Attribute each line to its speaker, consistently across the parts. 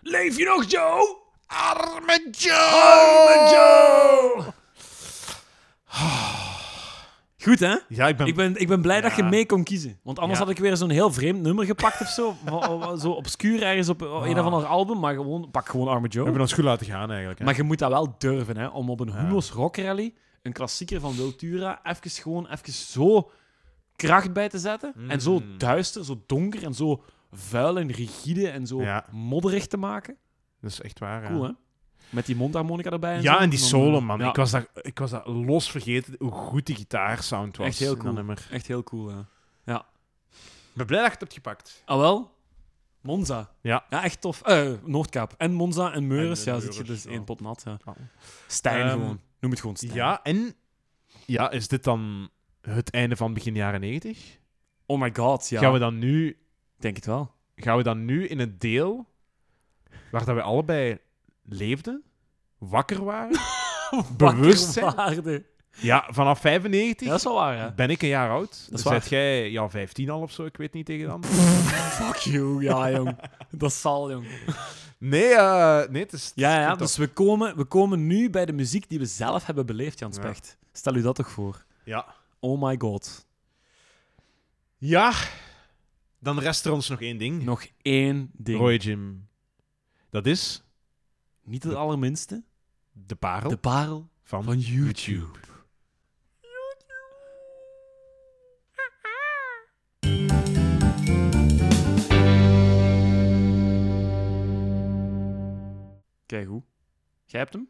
Speaker 1: Leef je nog, Joe?
Speaker 2: Arme Joe!
Speaker 1: Arme Joe! Goed, hè?
Speaker 2: Ja, ik ben...
Speaker 1: Ik ben, ik ben blij dat je
Speaker 2: Ja.
Speaker 1: mee kon kiezen. Want anders
Speaker 2: Ja.
Speaker 1: had ik weer zo'n heel vreemd nummer gepakt of zo. Van- oh, zo obscuur ergens op een of ander album. Maar gewoon, pak gewoon Arme
Speaker 2: We
Speaker 1: Joe.
Speaker 2: Ah. hebben ons goed laten gaan, eigenlijk. Hè?
Speaker 1: Maar je moet dat wel durven, hè? Om op een Humo's Rock Rally, een klassieker van Wiltura, even gewoon even zo kracht bij te zetten. En zo
Speaker 2: Mm.
Speaker 1: duister, zo donker en zo vuil en rigide en zo
Speaker 2: Ja.
Speaker 1: modderig te maken.
Speaker 2: Dat is echt waar, ja.
Speaker 1: Cool, hè? Met die mondharmonica erbij. En
Speaker 2: Ja,
Speaker 1: zo.
Speaker 2: en die
Speaker 1: Dan,
Speaker 2: solo,
Speaker 1: eh,
Speaker 2: man.
Speaker 1: ja,
Speaker 2: Ik, was dat, ik was dat los vergeten hoe goed die gitaarsound was.
Speaker 1: Echt heel
Speaker 2: in dat
Speaker 1: cool.
Speaker 2: nummer.
Speaker 1: Echt heel cool, hè?
Speaker 2: Ik ben blij dat je het hebt gepakt.
Speaker 1: Ah, wel? Monza.
Speaker 2: Ja.
Speaker 1: Ja, echt tof. Eh, Noordkaap. En Monza en Meuris.
Speaker 2: En, eh,
Speaker 1: ja, zit je
Speaker 2: Meuris,
Speaker 1: dus
Speaker 2: ja.
Speaker 1: één pot nat. Ja.
Speaker 2: Ja.
Speaker 1: Stijn
Speaker 2: Ehm,
Speaker 1: gewoon. Noem het gewoon Stijn.
Speaker 2: Ja, en... Ja, is dit dan het einde van begin jaren 90?
Speaker 1: Oh my god, ja.
Speaker 2: Gaan, we dan nu,
Speaker 1: Ik denk het wel.
Speaker 2: gaan we dan nu in het deel waar dat we allebei leefden, wakker waren? Bewustzijn?
Speaker 1: Wakkerwaarde.
Speaker 2: ja, vanaf 95
Speaker 1: Ja, dat is wel waar, hè?
Speaker 2: ben ik een jaar oud.
Speaker 1: is
Speaker 2: Dan
Speaker 1: waar.
Speaker 2: zet jij ja, 15 al of zo, ik weet niet tegen dan.
Speaker 1: Fuck you, ja, jong. Dat zal, jong.
Speaker 2: Nee, eh, nee het is...
Speaker 1: Ja, ja,
Speaker 2: Goed,
Speaker 1: dus we komen, we komen nu bij de muziek die we zelf hebben beleefd, Jan
Speaker 2: Ja.
Speaker 1: Specht. Stel u dat toch voor.
Speaker 2: ja.
Speaker 1: Oh my god.
Speaker 2: Ja, dan rest er ons nog één ding.
Speaker 1: Nog één ding.
Speaker 2: Roy Jim. Dat is
Speaker 1: Niet het allerminste.
Speaker 2: de parel
Speaker 1: De parel
Speaker 2: van,
Speaker 1: van YouTube.
Speaker 2: YouTube.
Speaker 1: Kijk hoe. Jij hebt hem?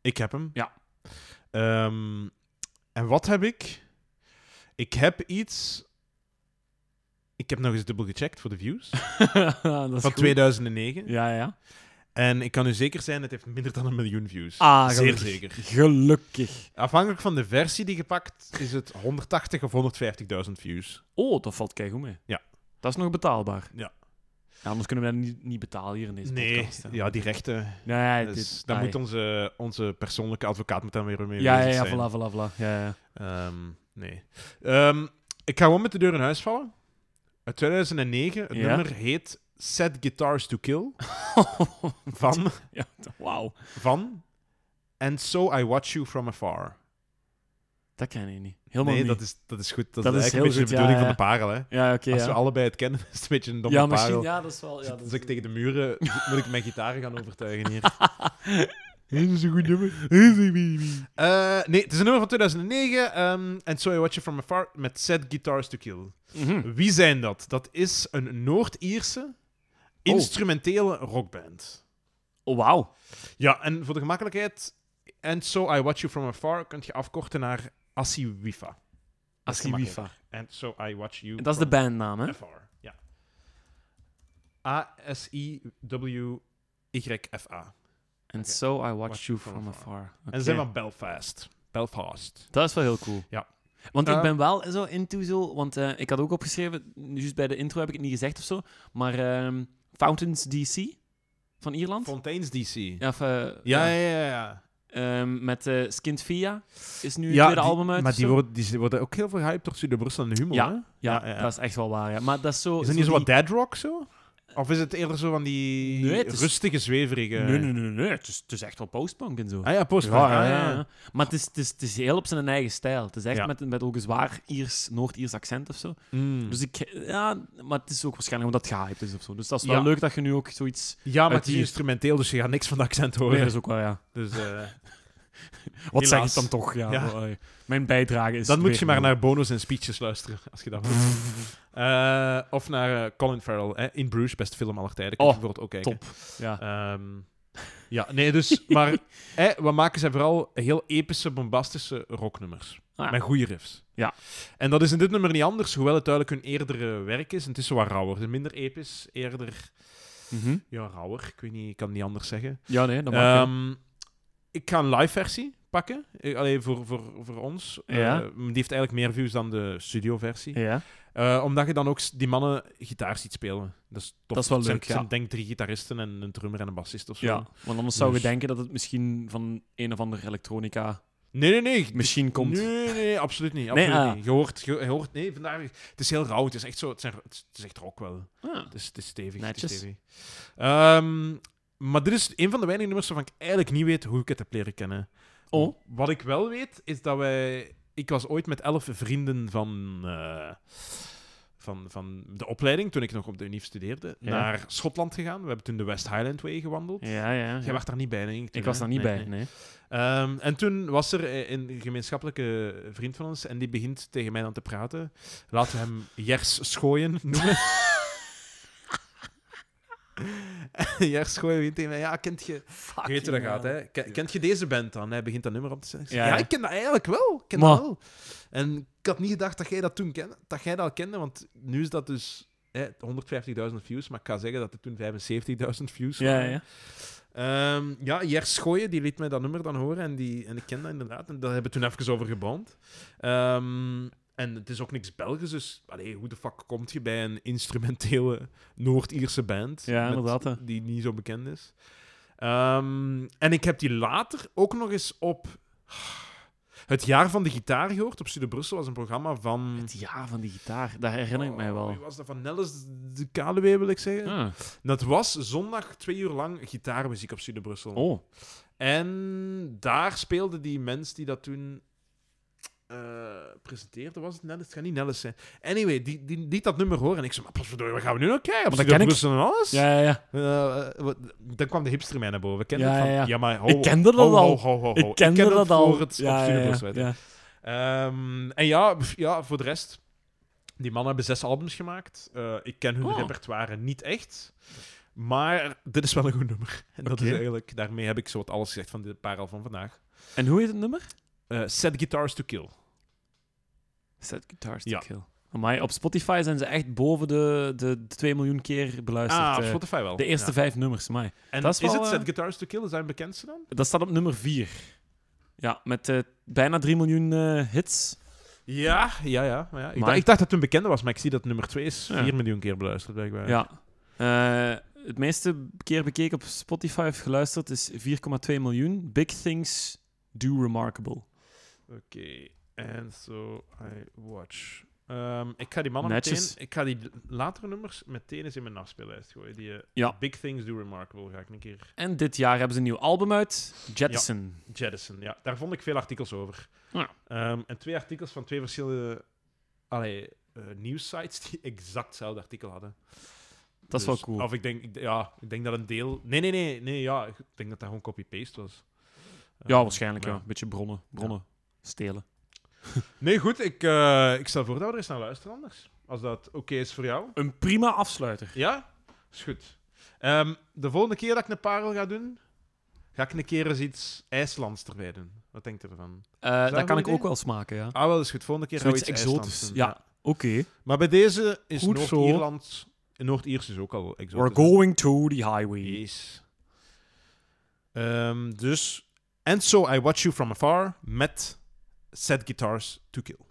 Speaker 2: Ik heb hem.
Speaker 1: Ja.
Speaker 2: Ehm, en wat heb ik? Ik heb iets... Ik heb nog eens dubbel gecheckt voor de views.
Speaker 1: dat is
Speaker 2: van
Speaker 1: goed.
Speaker 2: 2009.
Speaker 1: Ja, ja.
Speaker 2: En ik kan u zeker zijn, het heeft minder dan een miljoen views.
Speaker 1: Ah,
Speaker 2: Zeer
Speaker 1: gelukkig.
Speaker 2: zeker.
Speaker 1: Gelukkig.
Speaker 2: Afhankelijk van de versie die gepakt, is het 180 of 150.000 views.
Speaker 1: Oh, dat valt kijk hoe mee.
Speaker 2: Ja.
Speaker 1: Dat is nog betaalbaar.
Speaker 2: Ja.
Speaker 1: Ja, anders kunnen we dat niet, niet betalen hier in deze
Speaker 2: Nee,
Speaker 1: podcast. hè.
Speaker 2: ja, die rechten.
Speaker 1: Nee,
Speaker 2: Dus
Speaker 1: dit,
Speaker 2: daar
Speaker 1: ai.
Speaker 2: moet onze, onze persoonlijke advocaat moet dan weer mee
Speaker 1: Ja, ja,
Speaker 2: bezig
Speaker 1: ja,
Speaker 2: zijn.
Speaker 1: voilà, voilà, voilà. Ja, ja.
Speaker 2: Ehm, nee. Ehm, ik ga gewoon met de deur in huis vallen. Uit 2009. Het
Speaker 1: Ja.
Speaker 2: nummer heet Set Guitars to Kill. van,
Speaker 1: ja t- Wauw.
Speaker 2: van And So I Watch You From Afar.
Speaker 1: Dat ken ik niet. Helemaal
Speaker 2: nee,
Speaker 1: niet.
Speaker 2: dat is, dat is goed. Dat,
Speaker 1: Dat
Speaker 2: is
Speaker 1: is
Speaker 2: eigenlijk een
Speaker 1: heel
Speaker 2: beetje de
Speaker 1: goed, ja,
Speaker 2: bedoeling van de parel. Hè?
Speaker 1: Ja, oké.
Speaker 2: Als we
Speaker 1: ja.
Speaker 2: allebei het kennen, is het een beetje een domme
Speaker 1: ja,
Speaker 2: parel.
Speaker 1: misschien. Ja, dat is wel. Ja, dat
Speaker 2: Als
Speaker 1: is-
Speaker 2: ik tegen de muren moet ik mijn gitaren gaan overtuigen hier. Dit is een goed nummer. Eh, nee, het is een nummer van 2009. ehm And So I Watch You From Afar met Set Guitars to Kill.
Speaker 1: Mhm.
Speaker 2: Wie zijn dat? Dat is een Noord-Ierse Oh. instrumentele rockband.
Speaker 1: Oh, wauw.
Speaker 2: Ja, en voor de gemakkelijkheid, And So I Watch You From Afar kunt je afkorten naar Asiwifa.
Speaker 1: Asiwifa.
Speaker 2: And So I Watch You
Speaker 1: En Dat is de
Speaker 2: From
Speaker 1: bandnaam, hè?
Speaker 2: Afar. Ja. A-S-I-W-Y-F-A.
Speaker 1: And
Speaker 2: Oké.
Speaker 1: so I watched you from afar.
Speaker 2: En
Speaker 1: Oké.
Speaker 2: ze zijn van Belfast. Belfast.
Speaker 1: Dat is wel heel cool.
Speaker 2: Ja.
Speaker 1: Want ik
Speaker 2: Eh,
Speaker 1: ben wel zo into zo, want eh, ik had ook opgeschreven, juist bij de intro heb ik het niet gezegd of zo, maar ehm, Fountains DC van Ierland.
Speaker 2: Fontaines DC. Ja,
Speaker 1: ja, of, eh,
Speaker 2: ja,
Speaker 1: ja,
Speaker 2: ja. ja.
Speaker 1: ehm, met eh Skint Via is nu het tweede album uit.
Speaker 2: Maar
Speaker 1: of
Speaker 2: die
Speaker 1: zo.
Speaker 2: worden, die worden ook heel veel gehyped door Studio Brussel en de humor, hè?
Speaker 1: ja,
Speaker 2: ja, ja, ja.
Speaker 1: dat is echt wel waar. Ja. Maar dat is zo.
Speaker 2: Is het niet zo
Speaker 1: die-
Speaker 2: wat dead rock zo? Of is het eerder zo van die
Speaker 1: Nee, het is-
Speaker 2: rustige, zweverige...
Speaker 1: Nee, nee, nee, nee. Het is, het is echt wel postpunk en zo.
Speaker 2: Ah ja, post
Speaker 1: Ja, ja, ja. Maar het is, het, is, het is heel op zijn eigen stijl. Het is echt
Speaker 2: Ja.
Speaker 1: met, met ook een zwaar Iers, Noord-Iers accent of zo.
Speaker 2: Mm.
Speaker 1: Dus ik, ja, maar het is ook waarschijnlijk omdat het gehyped is of zo. Dus dat is wel
Speaker 2: Ja.
Speaker 1: leuk dat je nu ook zoiets.
Speaker 2: ja, maar
Speaker 1: uit
Speaker 2: het is
Speaker 1: die-
Speaker 2: instrumenteel, dus je gaat niks van de accent horen.
Speaker 1: Nee, dat is ook wel, ja.
Speaker 2: Dus, eh,
Speaker 1: Wat zeg
Speaker 2: Helaas.
Speaker 1: ik dan toch? Ja,
Speaker 2: Ja.
Speaker 1: allee. Mijn bijdrage is.
Speaker 2: dan moet
Speaker 1: weer
Speaker 2: je maar
Speaker 1: nul.
Speaker 2: naar bonus en speeches luisteren, als je dat wil. Eh, of naar eh, Colin Farrell, hè? In Bruges, beste film aller tijden. Kun je
Speaker 1: Oh,
Speaker 2: bijvoorbeeld ook kijken.
Speaker 1: Top. Ja.
Speaker 2: Ehm, ja, nee, dus... Maar hè, wat maken zij vooral? Heel epische, bombastische rocknummers.
Speaker 1: Ah,
Speaker 2: Met goede riffs.
Speaker 1: Ja.
Speaker 2: En dat is in dit nummer niet anders, hoewel het duidelijk hun eerdere werk is. En het is zo wat rauwer. Het is minder episch, eerder...
Speaker 1: mhm.
Speaker 2: Ja, rauwer. Ik weet niet, ik kan het niet anders zeggen.
Speaker 1: ja, nee, dat mag. je.
Speaker 2: Ehm, ik ga een live versie pakken. Eh, Alleen voor, voor, voor ons. Eh,
Speaker 1: Ja.
Speaker 2: die heeft eigenlijk meer views dan de studioversie.
Speaker 1: ja.
Speaker 2: Eh, omdat je dan ook s- die mannen gitaar ziet spelen. Dat is tof.
Speaker 1: Dat is wel
Speaker 2: Het zijn-
Speaker 1: leuk,
Speaker 2: het zijn,
Speaker 1: ja.
Speaker 2: denk drie gitaristen en een drummer en een bassist of zo.
Speaker 1: ja, want anders zou je
Speaker 2: Dus-
Speaker 1: denken dat het misschien van een of ander elektronica
Speaker 2: Nee, nee, nee.
Speaker 1: misschien komt.
Speaker 2: Nee, nee, absoluut niet.
Speaker 1: Nee,
Speaker 2: Absoluut
Speaker 1: ah.
Speaker 2: niet. Je hoort, je, je hoort, nee, vandaag, het is heel rauw. Het is echt zo, het, zijn, het is echt rock wel.
Speaker 1: Ah.
Speaker 2: Het is, het is stevig.
Speaker 1: Netjes.
Speaker 2: Het is stevig. Ehm, maar dit is een van de weinige nummers waarvan ik eigenlijk niet weet hoe ik het heb leren kennen.
Speaker 1: Oh.
Speaker 2: Wat ik wel weet, is dat wij... Ik was ooit met elf vrienden van, eh, van, van de opleiding, toen ik nog op de unief studeerde,
Speaker 1: Ja.
Speaker 2: naar Schotland gegaan. We hebben toen de West Highland Way gewandeld.
Speaker 1: Ja, ja.
Speaker 2: Jij
Speaker 1: ja.
Speaker 2: was daar niet bij, denk ik. toen,
Speaker 1: Ik was
Speaker 2: hè?
Speaker 1: daar niet
Speaker 2: Nee,
Speaker 1: bij.
Speaker 2: nee.
Speaker 1: Nee.
Speaker 2: Ehm, en toen was er eh, een gemeenschappelijke vriend van ons en die begint tegen mij dan te praten. Laten we hem Jers Schooien noemen. Jers Schooien begint tegen mij, ja, kent je... Je weet hoe dat gaat, hè. Ken- Kent je deze band dan? Hij begint dat nummer op te zetten. Ik zeg,
Speaker 1: Ja,
Speaker 2: Ja,
Speaker 1: ja.
Speaker 2: ik ken dat eigenlijk wel. Ik ken
Speaker 1: Maar-
Speaker 2: dat wel. En ik had niet gedacht dat jij dat toen kende, dat jij dat al kende, want nu is dat dus hè, 150.000 views, maar ik kan zeggen dat er toen 75.000 views
Speaker 1: Ja,
Speaker 2: waren.
Speaker 1: ja.
Speaker 2: Ehm, ja, Jers Schooien, die liet mij dat nummer dan horen en, die, en ik ken dat inderdaad. En daar hebben we toen even over geband. Ehm, en het is ook niks Belgisch, dus allee, hoe de fuck kom je bij een instrumentele Noord-Ierse band
Speaker 1: Ja, inderdaad, hè.
Speaker 2: die niet zo bekend is? Ehm, en ik heb die later ook nog eens op het jaar van de gitaar gehoord. Op Studio Brussel was een programma van...
Speaker 1: Het jaar van die gitaar, daar herinner ik mij
Speaker 2: Oh, wie
Speaker 1: wel.
Speaker 2: was dat van Nellis de Kaluwe, wil ik zeggen?
Speaker 1: Ah.
Speaker 2: Dat was zondag twee uur lang gitaarmuziek op Studio Brussel.
Speaker 1: Oh.
Speaker 2: En daar speelde die mens die dat toen eh, presenteerde, was het Nellis? Het gaat niet Nellis zijn. Anyway, die, die liet dat nummer horen en ik zei, maar potverdorie, wat gaan we nu nog kijken? Op
Speaker 1: Maar dat
Speaker 2: Studio
Speaker 1: ken ik.
Speaker 2: Brussel en alles?
Speaker 1: Ja, ja, ja.
Speaker 2: Eh, eh, wat- dan kwam de hipster mij naar boven. Ken je
Speaker 1: Ja,
Speaker 2: dat van,
Speaker 1: ja, ja.
Speaker 2: maar ho,
Speaker 1: Ik kende dat
Speaker 2: ho,
Speaker 1: al.
Speaker 2: ho, ho, ho, ho.
Speaker 1: Ik kende
Speaker 2: ken
Speaker 1: dat al.
Speaker 2: voor Oh, het op
Speaker 1: ja,
Speaker 2: Studio
Speaker 1: ja, ja,
Speaker 2: Brussel werd.
Speaker 1: ja.
Speaker 2: Ehm, en ja, pff, ja, voor de rest. Die mannen hebben zes albums gemaakt. Eh, ik ken hun
Speaker 1: Oh.
Speaker 2: repertoire niet echt. Maar dit is wel een goed nummer. En dat is
Speaker 1: Oké.
Speaker 2: eigenlijk, daarmee heb ik zo wat alles gezegd van de parel van vandaag.
Speaker 1: En hoe heet het nummer?
Speaker 2: Eh, Set Guitars to Kill.
Speaker 1: Set Guitars to
Speaker 2: Ja.
Speaker 1: Kill. Amai, op Spotify zijn ze echt boven de, de, de 2 miljoen keer beluisterd.
Speaker 2: Ah, op
Speaker 1: eh.
Speaker 2: Spotify wel.
Speaker 1: de eerste
Speaker 2: Ja.
Speaker 1: vijf nummers, amai.
Speaker 2: En
Speaker 1: dat
Speaker 2: is,
Speaker 1: is wel,
Speaker 2: het
Speaker 1: eh,
Speaker 2: Set Guitars to Kill? Is dat een bekendste dan?
Speaker 1: Dat staat op nummer 4. Ja, met eh, bijna 3 miljoen eh, hits.
Speaker 2: Ja, ja, ja. Maar ja. Ik,
Speaker 1: Maar-
Speaker 2: dacht, ik dacht dat het een bekende was, maar ik zie dat het nummer twee is.
Speaker 1: Ja.
Speaker 2: 4 miljoen keer beluisterd, blijkbaar.
Speaker 1: Ja. Eh, het meeste keer bekeken op Spotify of geluisterd is 4,2 miljoen. Big Things Do Remarkable.
Speaker 2: Oké, and so I watch. Ehm, ik ga die mannen
Speaker 1: Netjes.
Speaker 2: meteen... Ik ga die latere nummers meteen eens in mijn afspeellijst gooien. Die eh,
Speaker 1: Ja.
Speaker 2: Big Things Do Remarkable ga ik een keer
Speaker 1: En dit jaar hebben ze een nieuw album uit, Jettison.
Speaker 2: jettison. Ja, daar vond ik veel artikels over.
Speaker 1: Ja.
Speaker 2: Ehm, en twee artikels van twee verschillende allee, eh, nieuwssites die exact hetzelfde artikel hadden.
Speaker 1: Dat is
Speaker 2: Dus-
Speaker 1: wel cool.
Speaker 2: Of ik denk, ik, ja, ik denk dat een deel... Nee, nee, nee. nee ja, ik denk dat dat gewoon copy-paste was.
Speaker 1: ja,
Speaker 2: Ehm,
Speaker 1: waarschijnlijk. Ja.
Speaker 2: ja.
Speaker 1: Een beetje bronnen, bronnen stelen.
Speaker 2: Nee, goed. Ik, eh, ik stel voor dat we er eens naar luisteren anders. Als dat oké is voor jou.
Speaker 1: Een prima afsluiter.
Speaker 2: Ja? Is goed. Ehm, de volgende keer dat ik een parel ga doen, ga ik een keer eens iets IJslands erbij doen. Wat denkt u ervan?
Speaker 1: Eh dat
Speaker 2: een
Speaker 1: kan
Speaker 2: goed
Speaker 1: ik ook
Speaker 2: idee?
Speaker 1: wel smaken, ja.
Speaker 2: Ah, wel, is goed. Volgende keer gaan we
Speaker 1: Zoiets
Speaker 2: iets
Speaker 1: exotisch.
Speaker 2: IJslands doen.
Speaker 1: Ja, oké.
Speaker 2: Maar bij deze is
Speaker 1: Goed zo.
Speaker 2: Noord-Ierland... in Noord-Iers is ook al exotisch.
Speaker 1: We're going to the highway.
Speaker 2: Yes. Ehm, dus... And so I watch you from afar met set guitars to kill.